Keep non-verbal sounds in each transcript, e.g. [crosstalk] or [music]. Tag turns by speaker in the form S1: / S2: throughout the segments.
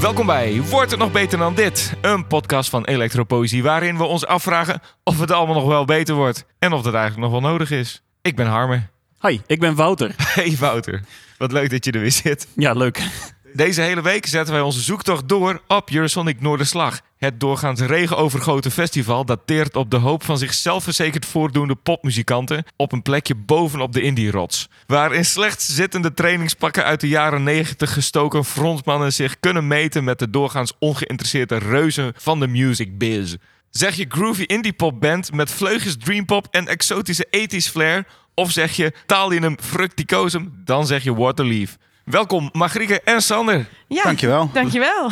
S1: Welkom bij Wordt het nog beter dan dit? Een podcast van Electropoëzie waarin we ons afvragen of het allemaal nog wel beter wordt en of dat eigenlijk nog wel nodig is. Ik ben Harmer.
S2: Hi, ik ben [laughs] Wouter.
S1: Hey Wouter, wat leuk dat je er weer zit.
S2: Ja, leuk.
S1: Deze hele week zetten wij onze zoektocht door op Eurosonic Noorderslag. Het doorgaans regenovergoten festival dateert op de hoop van zich zelfverzekerd voordoende popmuzikanten op een plekje bovenop de indie-rots. Waar in slechts zittende trainingspakken uit de jaren 90 gestoken frontmannen zich kunnen meten met de doorgaans ongeïnteresseerde reuzen van de music biz. Zeg je groovy indie pop band met vleugels dreampop en exotische ethisch flair? Of zeg je Talienum fructicosum? Dan zeg je Waterleaf. Welkom Margrieke en Sander.
S3: Ja,
S4: Dankjewel.
S3: Dankjewel.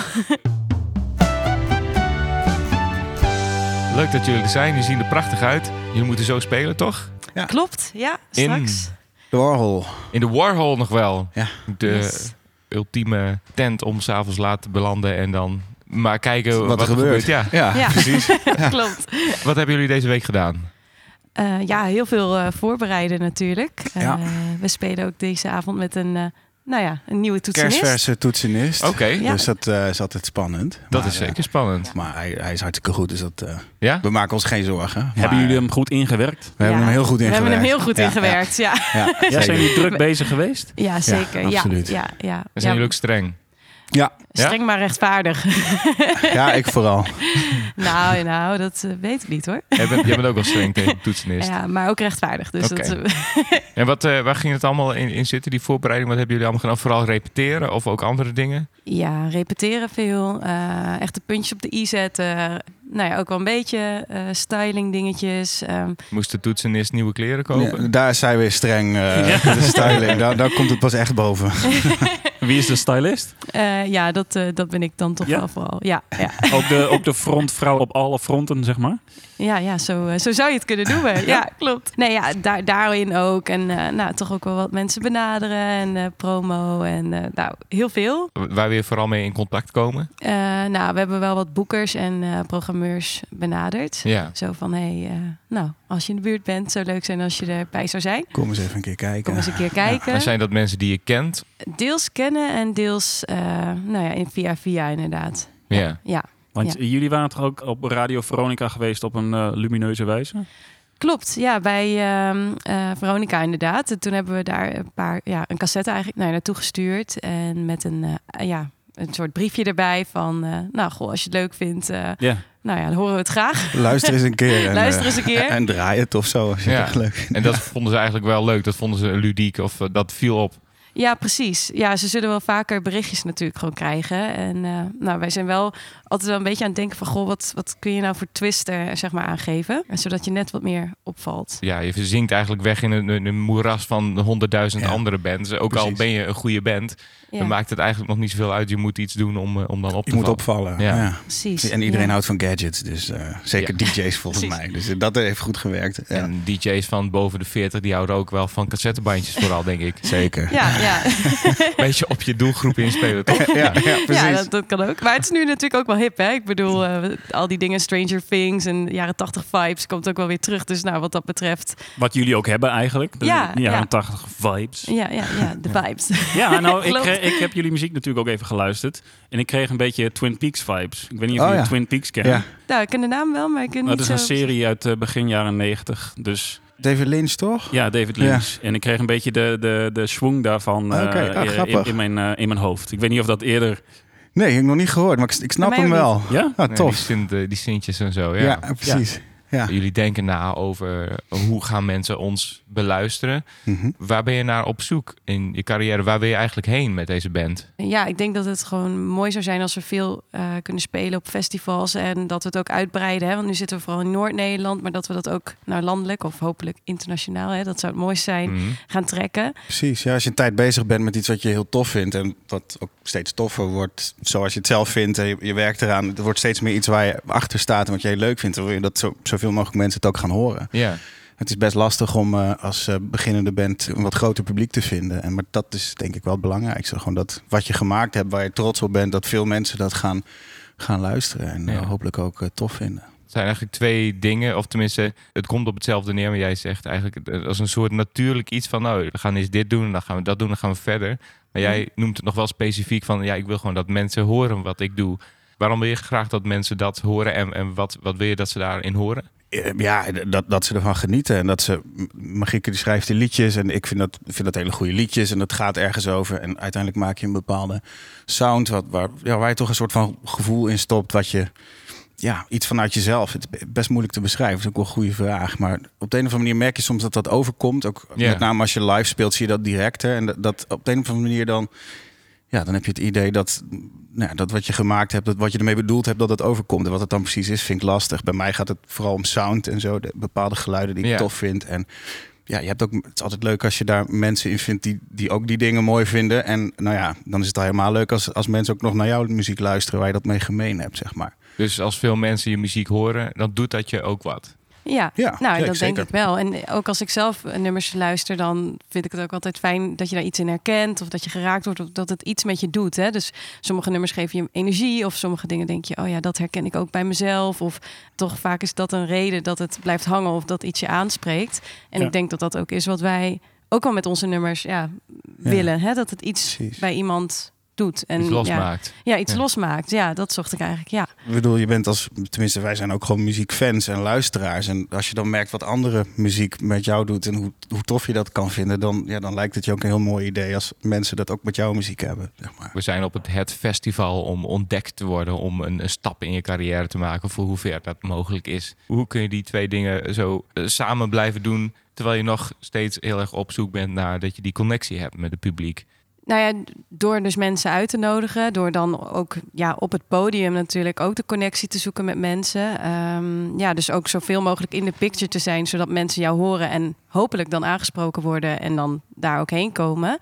S1: Leuk dat jullie er zijn. Jullie zien er prachtig uit. Jullie moeten zo spelen, toch?
S3: Klopt, ja,
S1: In.
S3: straks.
S4: De Warhol.
S1: In de Warhol nog wel.
S4: Ja.
S1: De
S3: Yes.
S1: ultieme tent om s'avonds laat te belanden en dan maar kijken wat,
S4: Wat, er gebeurt.
S1: Ja.
S4: Ah, Ja.
S3: Ja, [laughs]
S1: Precies.
S3: klopt.
S1: Wat hebben jullie deze week gedaan?
S3: Eh, ja, heel veel eh, voorbereiden natuurlijk. Eh,
S4: Ja.
S3: We spelen ook deze avond met een, eh, nou ja, een nieuwe toetsenist.
S4: Kerstverse toetsenist.
S1: Oké,
S3: Ja.
S4: Dus dat eh, is altijd spannend.
S1: dat
S4: Maar,
S1: is
S4: eh,
S1: zeker spannend.
S4: maar hij, hij is hartstikke goed, dus dat, eh,
S1: Ja?
S4: we maken ons geen zorgen. Maar
S2: Hebben jullie hem goed ingewerkt?
S4: We hebben
S3: Ja.
S4: hem heel goed
S3: We
S4: ingewerkt.
S3: hebben hem heel goed
S4: Ja,
S3: ingewerkt, ja.
S4: Ja,
S3: Ja,
S4: ja,
S2: [laughs] Ja,
S4: zeker.
S2: zijn jullie druk bezig geweest?
S3: zeker. Ja,
S4: absoluut.
S3: Ja, ja,
S1: En zijn
S3: Ja,
S1: jullie ook streng?
S4: Ja,
S3: Streng maar rechtvaardig. [laughs]
S4: ja, ik vooral.
S3: nou, nou, dat eh, weet ik niet hoor.
S1: Jij bent, jij bent ook wel streng tegen de toetsenist.
S3: Ja, maar ook rechtvaardig. Dus
S1: Oké.
S3: dat,
S1: En wat, eh, waar ging het allemaal in, in zitten, die voorbereiding? Wat hebben jullie allemaal gedaan? Vooral repeteren of ook andere dingen?
S3: Ja, repeteren veel. eh, echt de puntjes op de i zetten. Nou ja, ook wel een beetje eh, styling dingetjes. ehm,
S1: Moest de toetsenist nieuwe kleren kopen?
S4: Ja, daar zijn we streng. eh,
S2: Ja.
S4: De styling, daar, daar komt het pas echt boven.
S2: [laughs] Wie is de stylist?
S3: eh, ja, dat, eh, dat ben ik dan toch
S2: Ja.
S3: wel vooral. Ja, ja.
S2: Ook de, ook de frontvrouw op alle fronten, zeg maar.
S3: ja, ja zo, eh, zo zou je het kunnen noemen. Ja, klopt. Nee, ja, daar, daarin ook. En eh, nou, toch ook wel wat mensen benaderen en eh, promo en eh, nou, heel veel.
S1: Waar weer vooral mee in contact komen?
S3: Eh, nou, we hebben wel wat boekers en eh, programmeurs benaderd.
S1: Ja.
S3: Zo van, hé, hey, eh, nou, als je in de buurt bent, zou leuk zijn als je erbij zou zijn.
S4: Kom eens even een keer kijken.
S3: Kom eens een keer kijken.
S1: En zijn dat mensen die je kent?
S3: Deels kennen en deels, eh, nou ja, in via via inderdaad.
S1: Ja.
S3: Ja,
S2: Want jullie waren toch ook op Radio Veronica geweest op een eh, lumineuze wijze?
S3: klopt. Ja, bij ehm, eh, Veronica inderdaad. En toen hebben we daar een paar, ja, een cassette eigenlijk naar naartoe gestuurd. En met een, eh, ja, een soort briefje erbij van, eh, nou goh, als je het leuk vindt, eh,
S2: Ja.
S3: nou ja, dan horen we het graag.
S4: Luister eens een keer. En,
S3: Luister
S4: eh,
S3: eens een keer.
S4: [laughs] En draai het of zo. Als je
S1: Ja.
S4: het leuk vindt.
S1: En dat vonden ze eigenlijk wel leuk. Dat vonden ze ludiek of eh, dat viel op.
S3: Ja, precies. Ja, ze zullen wel vaker berichtjes natuurlijk gewoon krijgen. En eh, nou, wij zijn wel altijd wel een beetje aan het denken van... goh, wat, wat kun je nou voor twisten zeg maar, aangeven? En Zodat je net wat meer opvalt.
S1: Ja, je zinkt eigenlijk weg in een, een moeras van honderdduizend
S4: Ja.
S1: andere bands. Ook al
S4: Precies.
S1: ben je een goede band,
S3: Ja,
S1: dan maakt het eigenlijk nog niet zoveel uit. Je moet iets doen om, eh, om dan op te
S4: Je moet
S1: vallen.
S4: opvallen.
S1: Ja.
S4: Ja.
S3: precies.
S4: En iedereen
S3: Ja.
S4: houdt van gadgets, dus eh, zeker DJ's volgens
S3: Precies.
S4: mij. Dus eh, dat heeft goed gewerkt. Ja.
S1: En DJ's van boven de 40, die houden ook wel van cassettebandjes vooral, denk ik.
S4: [laughs] Zeker.
S3: Ja,
S4: [laughs]
S3: ja.
S1: Beetje op je doelgroep inspelen, toch?
S4: ja, ja, precies.
S3: ja dat, dat kan ook. Maar het is nu natuurlijk ook wel hip, hè? Ik bedoel, eh, al die dingen, Stranger Things en jaren 80 vibes, komt ook wel weer terug. Dus nou, wat dat betreft,
S2: Wat jullie ook hebben eigenlijk. De
S3: Ja,
S2: jaren
S3: ja.
S2: 80 vibes.
S3: ja, ja, ja de vibes.
S2: Ja,
S3: [laughs]
S2: nou, ik,
S3: Klopt.
S2: kreeg- ik heb jullie muziek natuurlijk ook even geluisterd. En ik kreeg een beetje Twin Peaks vibes. Ik weet niet of
S4: Oh,
S2: jullie
S4: ja.
S2: Twin Peaks kennen.
S4: Ja.
S3: nou, ik ken de naam wel, maar ik ken
S2: Nou,
S3: niet
S2: dat is
S3: zo...
S2: een serie uit eh, begin jaren 90. Dus
S4: David Lynch, toch?
S2: Ja, David Lynch. En ik kreeg een beetje de, de, de swing daarvan eh,
S4: Oké, ah,
S2: in- in,
S4: grappig.
S2: in, mijn, eh, in mijn hoofd. Ik weet niet of dat eerder...
S4: Nee, ik heb nog niet gehoord, maar ik, ik snap
S3: Bij mij
S4: hem
S3: ook
S4: wel.
S2: Ja?
S4: Ah,
S1: Nee,
S4: tof.
S1: die, sint, eh, die sintjes en zo, ja.
S4: ja. precies. Ja.
S1: Jullie denken na over hoe gaan mensen ons beluisteren.
S4: Mhm.
S1: Waar ben je naar op zoek in je carrière? Waar wil je eigenlijk heen met deze band?
S3: Ja, ik denk dat het gewoon mooi zou zijn als we veel eh, kunnen spelen op festivals. En dat we het ook uitbreiden. Hè? Want nu zitten we vooral in Noord-Nederland. Maar dat we dat ook nou, landelijk of hopelijk internationaal, hè? dat zou het mooiste zijn,
S2: Mm.
S1: Mhm.
S3: gaan trekken.
S4: Precies. Ja, als je een tijd bezig bent met iets wat je heel tof vindt en wat ook steeds toffer wordt, zoals je het zelf vindt en je, je werkt eraan, het wordt steeds meer iets waar je achter staat en wat je heel leuk vindt, dan wil je dat zo, zoveel mogelijk mensen het ook gaan horen.
S1: Ja.
S4: Het is best lastig om eh, als eh, beginnende band een wat groter publiek te vinden. En, maar dat is denk ik wel het belangrijkste. Gewoon dat wat je gemaakt hebt, waar je trots op bent, dat veel mensen dat gaan, gaan luisteren en eh,
S1: Ja.
S4: hopelijk ook eh, tof vinden.
S1: Het zijn eigenlijk twee dingen, of tenminste, het komt op hetzelfde neer. Maar jij zegt eigenlijk eh, als een soort natuurlijk iets van, nou, we gaan eens dit doen, dan gaan we dat doen, dan gaan we verder. Maar jij
S3: Mhm.
S1: noemt het nog wel specifiek van, ja, ik wil gewoon dat mensen horen wat ik doe. Waarom wil je graag dat mensen dat horen en, en wat, wat wil je dat ze daarin horen?
S4: Eh, Ja, d- dat, dat ze ervan genieten. En dat ze. M- Marieke die schrijft die liedjes. En ik vind dat, vind dat hele goede liedjes. En dat gaat ergens over. En uiteindelijk maak je een bepaalde sound. Wat, waar, ja, waar je toch een soort van gevoel in stopt. Wat je. Ja, iets vanuit jezelf. Het is best moeilijk te beschrijven. Dat is ook wel een goede vraag. Maar op de een of andere manier merk je soms dat dat overkomt. Ook
S1: Ja.
S4: met name als je live speelt, zie je dat directer. En dat, dat op de een of andere manier dan. Ja, dan heb je het idee dat, nou, ja, dat wat je gemaakt hebt, dat wat je ermee bedoeld hebt, dat het overkomt. En wat het dan precies is, vind ik lastig. Bij mij gaat het vooral om sound en zo. De bepaalde geluiden die ik
S1: Ja.
S4: tof vind. En ja, je hebt ook, het is altijd leuk als je daar mensen in vindt die, die ook die dingen mooi vinden. En nou ja, dan is het al helemaal leuk als, als mensen ook nog naar jouw muziek luisteren waar je dat mee gemeen hebt, zeg maar.
S1: Dus als veel mensen je muziek horen, dan doet dat je ook wat.
S3: Ja,
S4: Ja,
S3: nou,
S4: ja,
S3: dat
S4: zeker.
S3: denk ik wel. En ook als ik zelf eh, nummers luister, dan vind ik het ook altijd fijn dat je daar iets in herkent. Of dat je geraakt wordt, of dat het iets met je doet. Hè? Dus sommige nummers geven je energie. Of sommige dingen denk je, oh ja, dat herken ik ook bij mezelf. Of toch vaak is dat een reden dat het blijft hangen of dat iets je aanspreekt. En
S2: Ja.
S3: ik denk dat dat ook is wat wij ook al met onze nummers ja, willen. Hè? Dat het iets
S4: Precies.
S3: bij iemand doet. En
S1: Iets
S3: ja,
S1: losmaakt.
S3: ja, iets
S1: Ja.
S3: losmaakt. Ja, dat zocht ik eigenlijk, ja.
S4: Ik bedoel, je bent als, tenminste, wij zijn ook gewoon muziekfans en luisteraars. En als je dan merkt wat andere muziek met jou doet en hoe, hoe tof je dat kan vinden, dan, ja, dan lijkt het je ook een heel mooi idee als mensen dat ook met jouw muziek hebben. Zeg maar.
S1: We zijn op het, het festival om ontdekt te worden, om een, een stap in je carrière te maken, voor hoever dat mogelijk is. Hoe kun je die twee dingen zo eh, samen blijven doen, terwijl je nog steeds heel erg op zoek bent naar dat je die connectie hebt met het publiek?
S3: Nou ja, door dus mensen uit te nodigen, door dan ook ja, op het podium natuurlijk ook de connectie te zoeken met mensen. Ehm, ja, dus ook zoveel mogelijk in de picture te zijn, zodat mensen jou horen en hopelijk dan aangesproken worden en dan daar ook heen komen.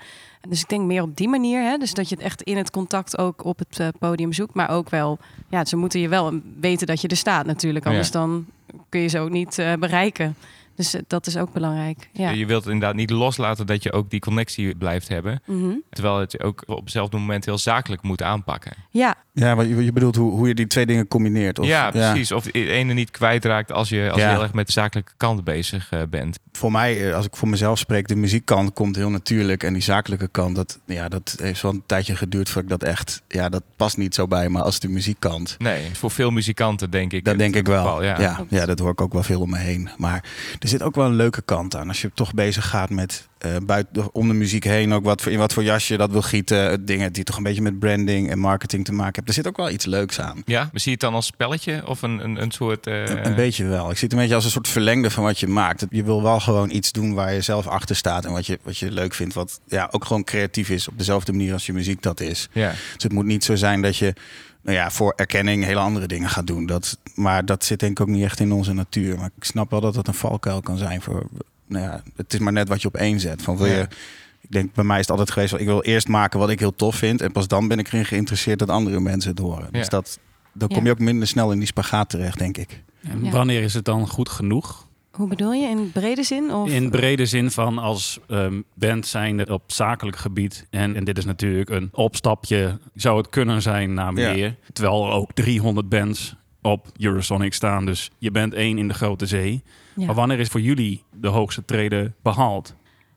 S3: Dus ik denk meer op die manier, hè? dus dat je het echt in het contact ook op het eh, podium zoekt, maar ook wel, ja, ze moeten je wel weten dat je er staat natuurlijk,
S1: Ja.
S3: anders dan kun je ze ook niet eh, bereiken. Dus eh, dat is ook belangrijk. Ja.
S1: Je wilt inderdaad niet loslaten dat je ook die connectie blijft hebben,
S3: Mhm.
S1: terwijl het je ook op hetzelfde moment heel zakelijk moet aanpakken.
S3: ja,
S4: Ja, maar je, je bedoelt hoe, hoe je die twee dingen combineert. Of,
S1: ja, precies. Of de ene niet kwijtraakt als je, als je
S4: Ja.
S1: heel erg met de zakelijke kant bezig eh, bent.
S4: Voor mij, eh, als ik voor mezelf spreek, de muziekkant komt heel natuurlijk. En die zakelijke kant, dat, ja, dat heeft wel een tijdje geduurd voordat ik dat echt... Ja, dat past niet zo bij me als de muziekkant.
S1: Nee, voor veel muzikanten denk ik.
S4: Dat
S1: het
S4: denk ik wel.
S1: geval,
S4: ja.
S1: ja.
S4: Ja, dat hoor ik ook wel veel om me heen. Maar er zit ook wel een leuke kant aan. Als je toch bezig gaat met eh, buiten, om de muziek heen, ook wat voor, in wat voor jasje je dat wil gieten. eh, Dingen die toch een beetje met branding en marketing te maken hebben. Er zit ook wel iets leuks aan.
S1: Ja, maar zie je het dan als spelletje of een, een, een soort... eh,
S4: Een- Een beetje wel. Ik zie het een beetje als een soort verlengde van wat je maakt. Je wil wel gewoon iets doen waar je zelf achter staat en wat je, wat je leuk vindt. Wat ja, ook gewoon creatief is op dezelfde manier als je muziek dat is.
S1: Ja.
S4: Dus het moet niet zo zijn dat je nou ja, voor erkenning hele andere dingen gaat doen. Dat, maar dat zit denk ik ook niet echt in onze natuur. Maar ik snap wel dat dat een valkuil kan zijn voor. Nou ja, het is maar net wat je op één zet. Van wil
S1: Ja.
S4: je, ik denk bij mij is het altijd geweest: van, ik wil eerst maken wat ik heel tof vind. En pas dan ben ik erin geïnteresseerd dat andere mensen het horen.
S1: Ja.
S4: Dus dat, dan
S3: Ja.
S4: kom je ook minder snel in die spagaat terecht, denk ik.
S2: En
S3: Ja.
S2: wanneer is het dan goed genoeg?
S3: hoe bedoel je? In brede zin? Of?
S2: In brede zin van als ehm, band zijnde op zakelijk gebied. En, en dit is natuurlijk een opstapje, zou het kunnen zijn naar
S4: Ja.
S2: meer. Terwijl er ook 300 bands op Eurosonic staan. Dus je bent één in de grote zee.
S3: Ja.
S2: Maar wanneer is voor jullie de hoogste treden behaald?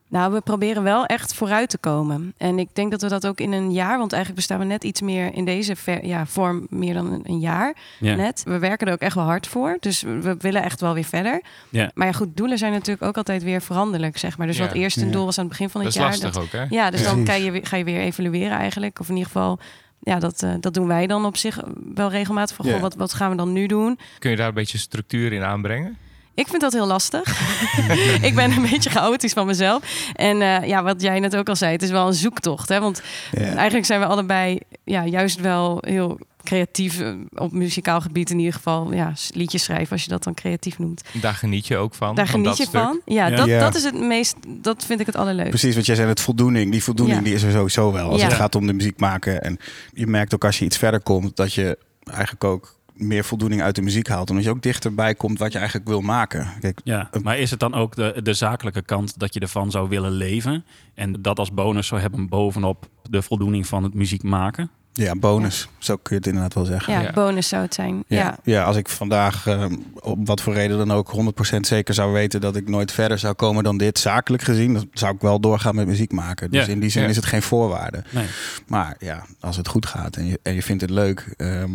S3: Nou, we proberen wel echt vooruit te komen. En ik denk dat we dat ook in een jaar, want eigenlijk bestaan we net iets meer in deze ver- ja, vorm, meer dan een, een jaar
S2: Ja.
S3: net. We werken er ook echt wel hard voor, dus we- we willen echt wel weer verder.
S2: Ja.
S3: Maar ja, goed, doelen zijn natuurlijk ook altijd weer veranderlijk, zeg maar. Dus
S1: Ja.
S3: wat eerst een
S4: Ja.
S3: doel was aan het begin van
S1: Dat
S3: het
S1: is
S3: jaar.
S1: lastig
S3: dat-
S1: ook, hè?
S3: ja, dus dan
S4: Precies.
S3: ga je, weer- ga je weer evalueren eigenlijk. Of in ieder geval, ja, dat, eh, dat doen wij dan op zich wel regelmatig. Van,
S4: Ja.
S3: goh, wat, wat gaan we dan nu doen?
S1: Kun je daar een beetje structuur in aanbrengen?
S3: Ik vind dat heel lastig. [laughs] ik ben een beetje chaotisch van mezelf. En eh, ja, wat jij net ook al zei, het is wel een zoektocht. Hè? Want eigenlijk zijn we allebei ja, juist wel heel creatief eh, op muzikaal gebied. In ieder geval ja, s- liedjes schrijven, als je dat dan creatief noemt.
S1: Daar geniet je ook van.
S3: Daar
S1: van
S3: geniet
S1: dat
S3: je
S1: stuk.
S3: van. Ja,
S2: Ja.
S3: Dat,
S4: Ja.
S3: dat is het meest, dat vind ik het allerleukst.
S4: Precies wat jij zei, het voldoening. Die voldoening
S3: Ja.
S4: die is er sowieso wel als
S3: Ja.
S4: het gaat om de muziek maken. En je merkt ook als je iets verder komt dat je eigenlijk ook meer voldoening uit de muziek haalt. Omdat je ook dichterbij komt wat je eigenlijk wil maken. Kijk,
S2: Ja, maar is het dan ook de, de zakelijke kant dat je ervan zou willen leven? En dat als bonus zou hebben bovenop de voldoening van het muziek maken?
S4: Ja, bonus. Zo kun je het inderdaad wel zeggen.
S3: Ja,
S1: Ja.
S3: bonus zou het zijn. Ja.
S4: Ja. als ik vandaag eh, om wat voor reden dan ook 100% zeker zou weten dat ik nooit verder zou komen dan dit, zakelijk gezien, dan zou ik wel doorgaan met muziek maken. Dus
S2: Ja,
S4: in die zin
S1: ja.
S4: is het geen voorwaarde.
S2: Nee.
S4: Maar ja, als het goed gaat en je, en je vindt het leuk, ehm,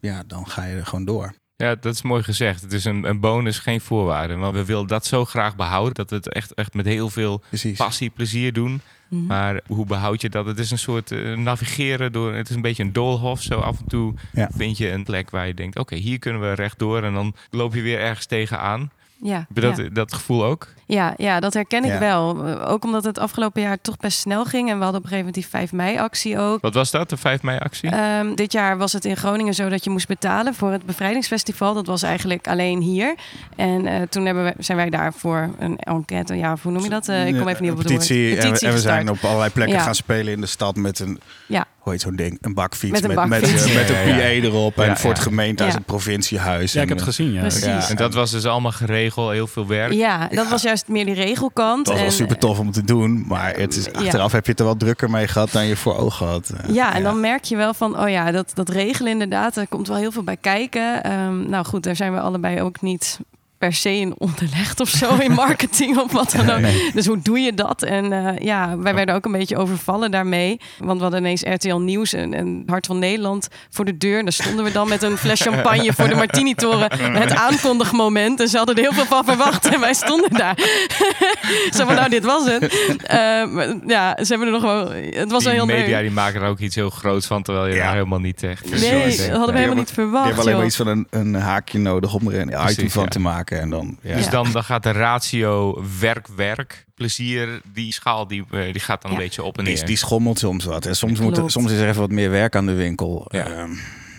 S4: ja, dan ga je er gewoon door.
S1: Ja, dat is mooi gezegd. Het is een, een bonus, geen voorwaarde. Want we willen dat zo graag behouden dat we het echt, echt met heel veel
S4: Precies.
S1: passie, plezier doen.
S3: Mhm.
S1: Maar hoe behoud je dat? Het is een soort eh, navigeren door. Het is een beetje een doolhof. Zo af en toe
S4: Ja.
S1: vind je een plek waar je denkt: oké, hier kunnen we rechtdoor. En dan loop je weer ergens tegenaan.
S3: Ja,
S1: Heb je dat,
S3: ja.
S1: dat gevoel ook?
S3: Ja, ja, dat herken ik
S4: Ja.
S3: wel. Eh, Ook omdat het afgelopen jaar toch best snel ging. En we hadden op een gegeven moment die 5 mei-actie ook.
S1: Wat was dat, de 5 mei-actie?
S4: Hm?
S3: Ehm, dit jaar was het in Groningen zo dat je moest betalen voor het bevrijdingsfestival. Dat was eigenlijk alleen hier. En eh, toen hebben we, zijn wij daarvoor een enquête, ja, of hoe noem je dat? Eh, ik kom even niet op het woord.
S4: petitie. En we- En, we
S3: gestart.
S4: zijn op allerlei plekken
S3: Ja.
S4: gaan spelen in de stad met een,
S3: Ja.
S4: hoe heet zo'n ding? Een bakfiets.
S3: Met een
S4: Met,
S3: bakfiets.
S4: met, met een
S1: Ja, ja, ja.
S4: PA erop. En
S1: Ja,
S4: voor het
S1: ja.
S4: gemeentehuis,
S3: Ja.
S4: het provinciehuis.
S2: Ja, ik
S4: en, eh,
S2: heb het gezien, ja.
S3: Precies.
S4: Ja.
S1: En dat was dus allemaal geregeld, heel veel werk.
S3: Ja, dat
S4: Ja.
S3: was juist meer die regelkant.
S4: Het was
S3: en,
S4: wel super tof om te doen, maar het is,
S3: eh, Ja.
S4: achteraf heb je het er wel drukker mee gehad dan je voor ogen had. Eh,
S3: Ja, en dan merk je wel van, oh ja, dat, dat regelen inderdaad, daar komt wel heel veel bij kijken. Ehm, nou goed, daar zijn we allebei ook niet per se in onderlegd of zo in marketing of wat dan ook. Dus hoe doe je dat? En eh, ja, wij werden ook een beetje overvallen daarmee. Want we hadden ineens RTL Nieuws en, en Hart van Nederland voor de deur. En daar stonden we dan met een fles champagne voor de Martini-toren. Het aankondigmoment. En ze hadden er heel veel van verwacht. En wij stonden daar. [laughs] Zo van, nou, dit was het. Eh, maar ja, ze hebben er nog wel... Het was
S1: die
S3: wel heel leuk.
S1: media die maken er ook iets heel groots van, terwijl je
S4: Ja.
S1: daar helemaal niet echt... eh,
S3: Nee,
S1: zoiets
S3: dat
S1: denkt.
S3: hadden we
S1: Nee.
S3: helemaal niet
S4: je
S3: verwacht.
S4: hebt alleen maar
S3: joh.
S4: iets van een, een haakje nodig om er een item
S1: Precies,
S4: van
S1: ja.
S4: te maken. En dan, ja.
S1: Dus
S3: Ja.
S1: dan, dan gaat de ratio werk-werk, plezier, die schaal die, eh, die gaat dan
S3: Ja.
S1: een beetje op en neer.
S4: Die, die schommelt soms wat. Hè. Soms, moet,
S3: Klopt.
S4: soms is er even wat meer werk aan de winkel.
S1: Ja.
S4: Ehm,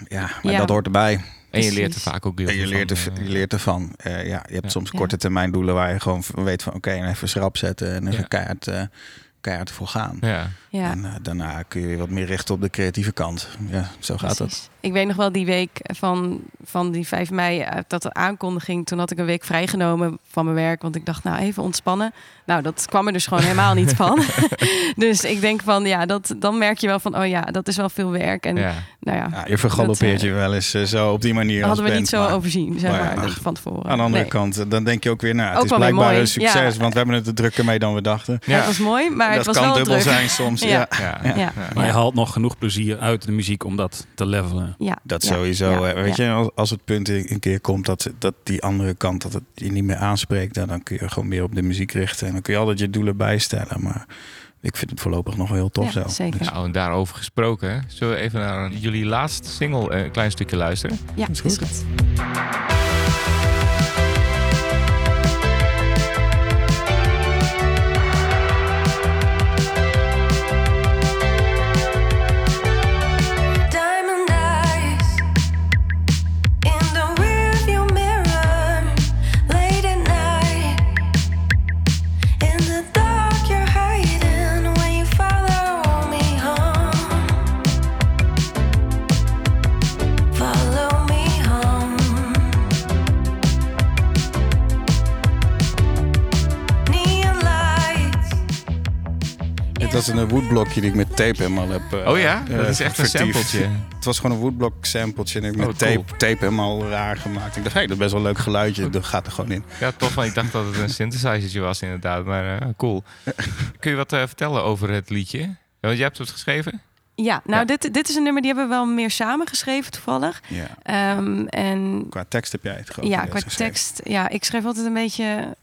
S4: ja maar
S3: Ja.
S4: dat hoort erbij.
S1: en je leert er
S3: Precies.
S1: vaak ook heel
S4: En je
S1: veel
S4: leert,
S1: van,
S4: er,
S1: eh.
S4: je leert ervan. Eh, ja, je hebt
S1: Ja.
S4: soms
S3: Ja.
S4: korte termijn doelen waar je gewoon van weet van oké, even schrap zetten en even
S1: Ja.
S4: keihard, eh, keihard voor gaan.
S1: Ja.
S3: Ja.
S4: En eh, daarna kun je weer wat meer richten op de creatieve kant. Ja, zo gaat het.
S3: Precies. Ik weet nog wel die week van, van die 5 mei, eh, dat de aankondiging. Toen had ik een week vrijgenomen van mijn werk. Want ik dacht, nou even ontspannen. Nou, dat kwam er dus gewoon helemaal niet
S4: [laughs]
S3: van. [laughs] dus ik denk van, ja, dat, dan merk je wel van, oh ja, dat is wel veel werk. En
S1: Ja.
S3: nou ja,
S4: Ja, je vergaloppeert
S3: Dat, eh,
S4: je wel eens eh, zo op die manier.
S3: dat
S4: als
S3: hadden we niet
S4: band,
S3: zo
S4: maar
S3: overzien, zeg
S4: maar
S3: maar,
S4: ja,
S3: dat
S4: ach,
S3: van tevoren.
S4: Aan de andere
S3: Nee.
S4: kant, eh, dan denk je ook weer, nou, het
S3: Ook
S4: is
S3: wel weer
S4: blijkbaar
S3: mooi.
S4: een succes,
S3: Ja.
S4: want we hebben het er drukker mee dan we dachten.
S1: Ja.
S3: Het was mooi, maar
S4: dat
S3: het was
S4: kan
S3: wel
S4: dubbel
S3: druk.
S4: zijn soms. Ja.
S3: [laughs] Ja.
S1: Ja.
S4: Ja.
S3: Ja.
S1: Ja.
S2: Maar je haalt nog genoeg plezier uit de muziek om dat te levelen. Dus
S3: Ja,
S4: Dat
S3: ja,
S4: sowieso.
S3: ja,
S4: eh, Weet
S3: ja.
S4: je, als, als het punt een een keer komt dat, dat die andere kant dat het je niet meer aanspreekt, nou, dan, dan kun je gewoon meer op de muziek richten. En dan kun je altijd je doelen bijstellen. Maar ik vind het voorlopig nog wel heel tof
S3: Ja,
S4: zo.
S3: zeker.
S4: Dus-
S1: Nou, en daarover gesproken, hè. zullen we even naar jullie laatste single eh, een klein stukje luisteren?
S3: Ja,
S4: is
S3: is
S4: goed.
S3: goed.
S5: Diamond eyes in the rearview mirror, late at night. In the dark, you're hiding when you follow me home. Follow me home. Neon lights.
S4: Dit was een eh, woodblokje die ik met tape helemaal heb. eh,
S1: Oh ja? Dat
S4: eh,
S1: is echt een
S4: vertiefd.
S1: sampletje.
S4: Het was gewoon een woodblock sampletje en ik met
S1: Oh, cool.
S4: tape, tape helemaal raar gemaakt. Ik dacht, hé, dat is best wel een leuk geluidje. Dat gaat er gewoon in.
S1: Ja, tof, want ik dacht dat het een synthesizertje was inderdaad, maar eh, cool. Kun je wat eh, vertellen over het liedje? Ja, Want jij hebt het geschreven?
S3: Ja, nou,
S1: Ja.
S3: Dit, dit is een nummer die hebben we wel meer samengeschreven toevallig.
S4: Ja.
S3: Ehm, en
S4: Qua tekst heb jij het gewoon.
S3: Ja, qua tekst. Ja, ik schrijf altijd een beetje [laughs]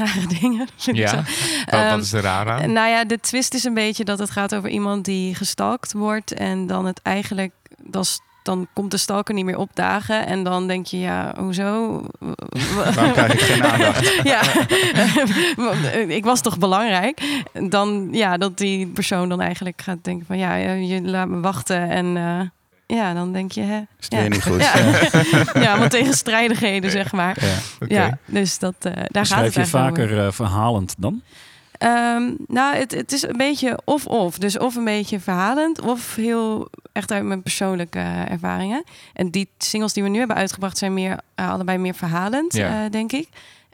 S3: rare dingen. [laughs] vind ik
S1: Ja.
S3: zo.
S1: Wat,
S3: Ehm,
S1: wat is er raar aan?
S3: Nou ja, de twist is een beetje dat het gaat over iemand die gestalkt wordt. En dan het eigenlijk, dan, s- dan komt de stalker niet meer opdagen. En dan denk je, ja, hoezo? [laughs]
S4: Waarom krijg ik geen aandacht?
S3: ja, eh, ik was toch belangrijk? Dan, ja, dat die persoon dan eigenlijk gaat denken van, ja, eh, je laat me wachten. En eh, ja, dan denk je, hè?
S4: Is het weer niet goed?
S3: [laughs] Ja, [laughs]
S1: [laughs]
S3: ja want tegenstrijdigheden, zeg maar.
S4: Ja.
S1: Oké.
S3: Ja, dus dat, eh, daar gaat
S2: Schrijf
S3: het
S2: je
S3: eigenlijk over.
S2: vaker eh, verhalend dan?
S3: Ehm, nou, het, het is een beetje of-of. Dus of een beetje verhalend, of heel echt uit mijn persoonlijke eh, ervaringen. En die singles die we nu hebben uitgebracht zijn meer, eh, allebei meer verhalend,
S1: Ja.
S3: eh, denk ik.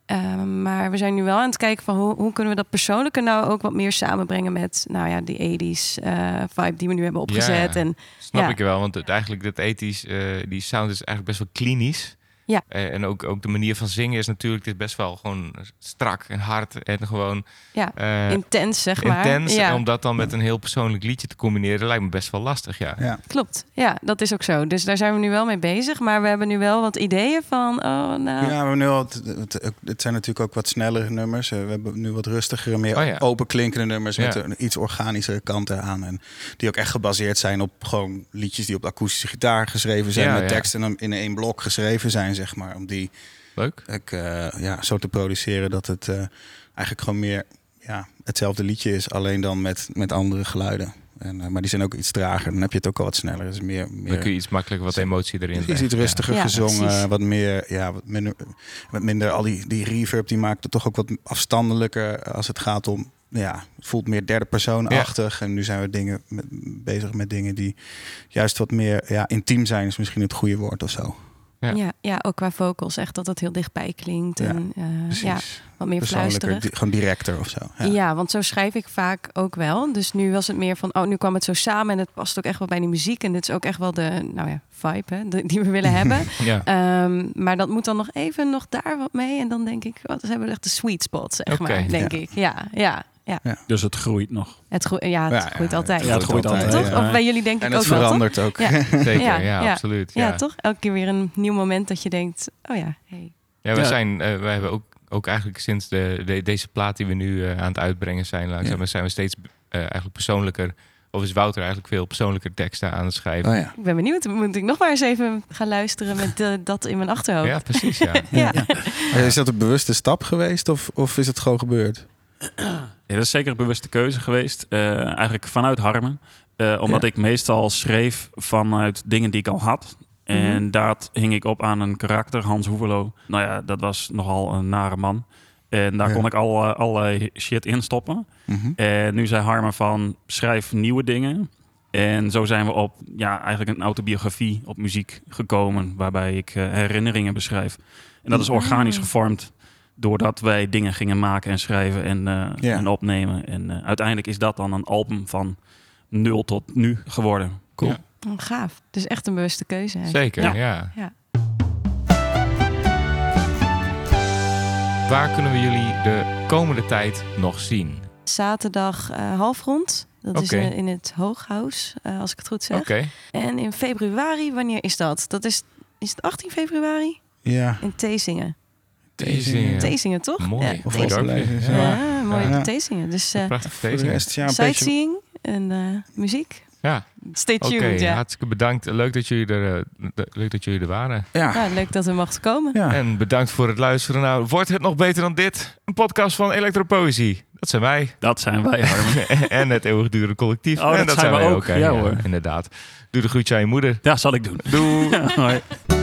S3: Eh, maar we zijn nu wel aan het kijken van hoe, hoe kunnen we dat persoonlijke nou ook wat meer samenbrengen met nou ja, die 80s eh, vibe die we nu hebben opgezet.
S1: Ja.
S3: En
S1: Snap
S3: Ja.
S1: ik wel, want het, eigenlijk dat ethisch, eh, die sound is eigenlijk best wel klinisch.
S3: Ja.
S1: Eh, en ook, ook de manier van zingen is natuurlijk dit is best wel gewoon strak en hard en gewoon
S3: Ja,
S1: eh,
S3: intens, zeg maar.
S1: intens.
S3: ja,
S1: En om dat dan met een heel persoonlijk liedje te combineren lijkt me best wel lastig, ja.
S4: Ja.
S3: klopt. Ja, dat is ook zo. Dus daar zijn we nu wel mee bezig. Maar we hebben nu wel wat ideeën van, oh nou,
S4: Ja, we hebben nu al, het, het- het zijn natuurlijk ook wat snellere nummers. Eh, We hebben nu wat rustigere, meer
S1: Oh ja.
S4: openklingende nummers met
S1: Ja.
S4: een iets organischere kant eraan. En die ook echt gebaseerd zijn op gewoon liedjes die op de akoestische gitaar geschreven zijn.
S1: Ja,
S4: met
S1: ja.
S4: teksten dan in één blok geschreven zijn, zeg maar. Om die
S1: Leuk.
S4: ook, eh, ja, zo te produceren dat het eh, eigenlijk gewoon meer ja, hetzelfde liedje is. Alleen dan met, met andere geluiden. En, eh, maar die zijn ook iets trager. Dan heb je het ook al wat sneller. Dus meer,
S1: Dan
S4: meer
S1: kun je iets makkelijker wat emotie erin
S4: is
S1: brengen.
S4: iets rustiger
S3: Ja,
S4: gezongen,
S3: precies.
S4: wat meer, ja, wat minder, wat minder al die, die reverb die maakt het toch ook wat afstandelijker als het gaat om, ja, het voelt meer derde persoonachtig. En nu zijn we dingen met- bezig met dingen die juist wat meer, ja, intiem zijn is misschien het goede woord of zo.
S1: Ja.
S3: ja. Ja, ook qua vocals, echt dat dat heel dichtbij klinkt.
S4: Ja,
S3: en, eh, ja
S4: Precies.
S3: wat meer
S4: Persoonlijker,
S3: fluisterig.
S4: di- gewoon directer of zo.
S3: Ja. want zo schrijf ik vaak ook wel. Dus nu was het meer van, oh, nu kwam het zo samen en het past ook echt wel bij die muziek. En dit is ook echt wel de, nou ja, vibe hè, de- die we
S4: [laughs]
S3: willen hebben.
S1: Ja.
S3: Ehm, maar dat moet dan nog even nog daar wat mee. En dan denk ik, oh, dan hebben we echt de sweet spot, zeg
S1: Oké,
S3: maar, denk
S4: ja.
S3: ik. Ja, ja, ja.
S2: Dus het groeit nog.
S3: Het, groe- ja, het
S4: Ja, ja,
S3: groeit altijd.
S2: Ja, het groeit altijd.
S3: toch?
S2: ja.
S3: Of bij jullie denk
S4: En
S3: ik ook
S4: het
S3: wel, toch?
S4: verandert ook.
S3: [laughs] Ja.
S1: Zeker, ja,
S3: Ja, ja.
S1: absoluut.
S3: Ja,
S1: Ja,
S3: toch? Elke keer weer een nieuw moment dat je denkt, oh ja, hey.
S1: Ja, we
S2: Ja.
S1: zijn, eh, we hebben ook, ook eigenlijk sinds de, de- deze plaat die we nu eh, aan het uitbrengen zijn, langzaam zijn we steeds eh, eigenlijk persoonlijker, of is Wouter eigenlijk veel persoonlijker teksten aan het schrijven.
S4: Oh ja.
S3: Ik ben benieuwd, moet ik nog maar eens even gaan luisteren met eh, dat in mijn achterhoofd.
S1: Ja, precies. Ja.
S3: Ja.
S4: Is dat een bewuste stap geweest of, of is het gewoon gebeurd?
S2: Ja, dat is zeker een bewuste keuze geweest. eh, eigenlijk vanuit Harmen. Eh, omdat
S4: Ja.
S2: ik meestal schreef vanuit dingen die ik al had. En
S3: Mhm.
S2: daar hing ik op aan een karakter, Hans Hoevelo. Nou ja, dat was nogal een nare man. En daar
S4: Ja.
S2: kon ik al, allerlei shit in stoppen.
S4: Mhm.
S2: En Eh, nu zei Harmen van, schrijf nieuwe dingen. En zo zijn we op ja, eigenlijk een autobiografie op muziek gekomen, waarbij ik eh, herinneringen beschrijf. En dat is organisch
S3: Ah.
S2: gevormd doordat wij dingen gingen maken en schrijven en, eh,
S4: Ja.
S2: en opnemen. En eh, uiteindelijk is dat dan een album van nul tot nu geworden.
S1: Cool.
S2: Ja.
S3: Oh, gaaf. Dus echt een bewuste keuze. eigenlijk.
S1: Zeker, ja.
S2: Ja.
S1: Waar kunnen we jullie de komende tijd nog zien?
S3: Zaterdag eh, halfrond. Dat is
S1: Oké.
S3: in, in het Hooghuis, eh, als ik het goed zeg.
S1: Oké,
S3: En in februari, wanneer is dat? Dat is, is het 18 februari?
S4: Ja.
S3: In Theezingen.
S1: Theezingen. Ja.
S3: Theezingen, toch?
S1: mooi.
S3: Ja,
S1: Mooi
S4: Of
S3: Theezingen.
S1: dorpje.
S4: Overblijven,
S1: Ja.
S4: ja.
S3: Ja, mooi
S4: Ja.
S3: Theezingen. Dus eh
S1: Prachtig
S4: Voor de
S1: deze.
S4: rest, ja, een beetje
S3: sightseeing en eh, muziek.
S1: Ja,
S3: Stay
S1: oké.
S3: tuned, ja.
S1: Hartstikke bedankt. Leuk dat jullie er, eh, de- leuk dat jullie er waren.
S4: Ja.
S3: Nou, leuk dat we mochten komen.
S4: ja.
S1: En bedankt voor het luisteren. Nou, wordt het nog beter dan dit? Een podcast van Elektropoëzie. Dat zijn wij.
S2: Dat zijn
S1: [laughs]
S2: wij, Harmen.
S1: en het eeuwigdurende collectief.
S2: Oh,
S1: en
S2: dat zijn we ook.
S1: hè.
S2: Ja, hoor.
S1: Inderdaad. Doe de groetje aan je moeder.
S2: dat zal ik doen.
S1: Doei.
S2: Hoi.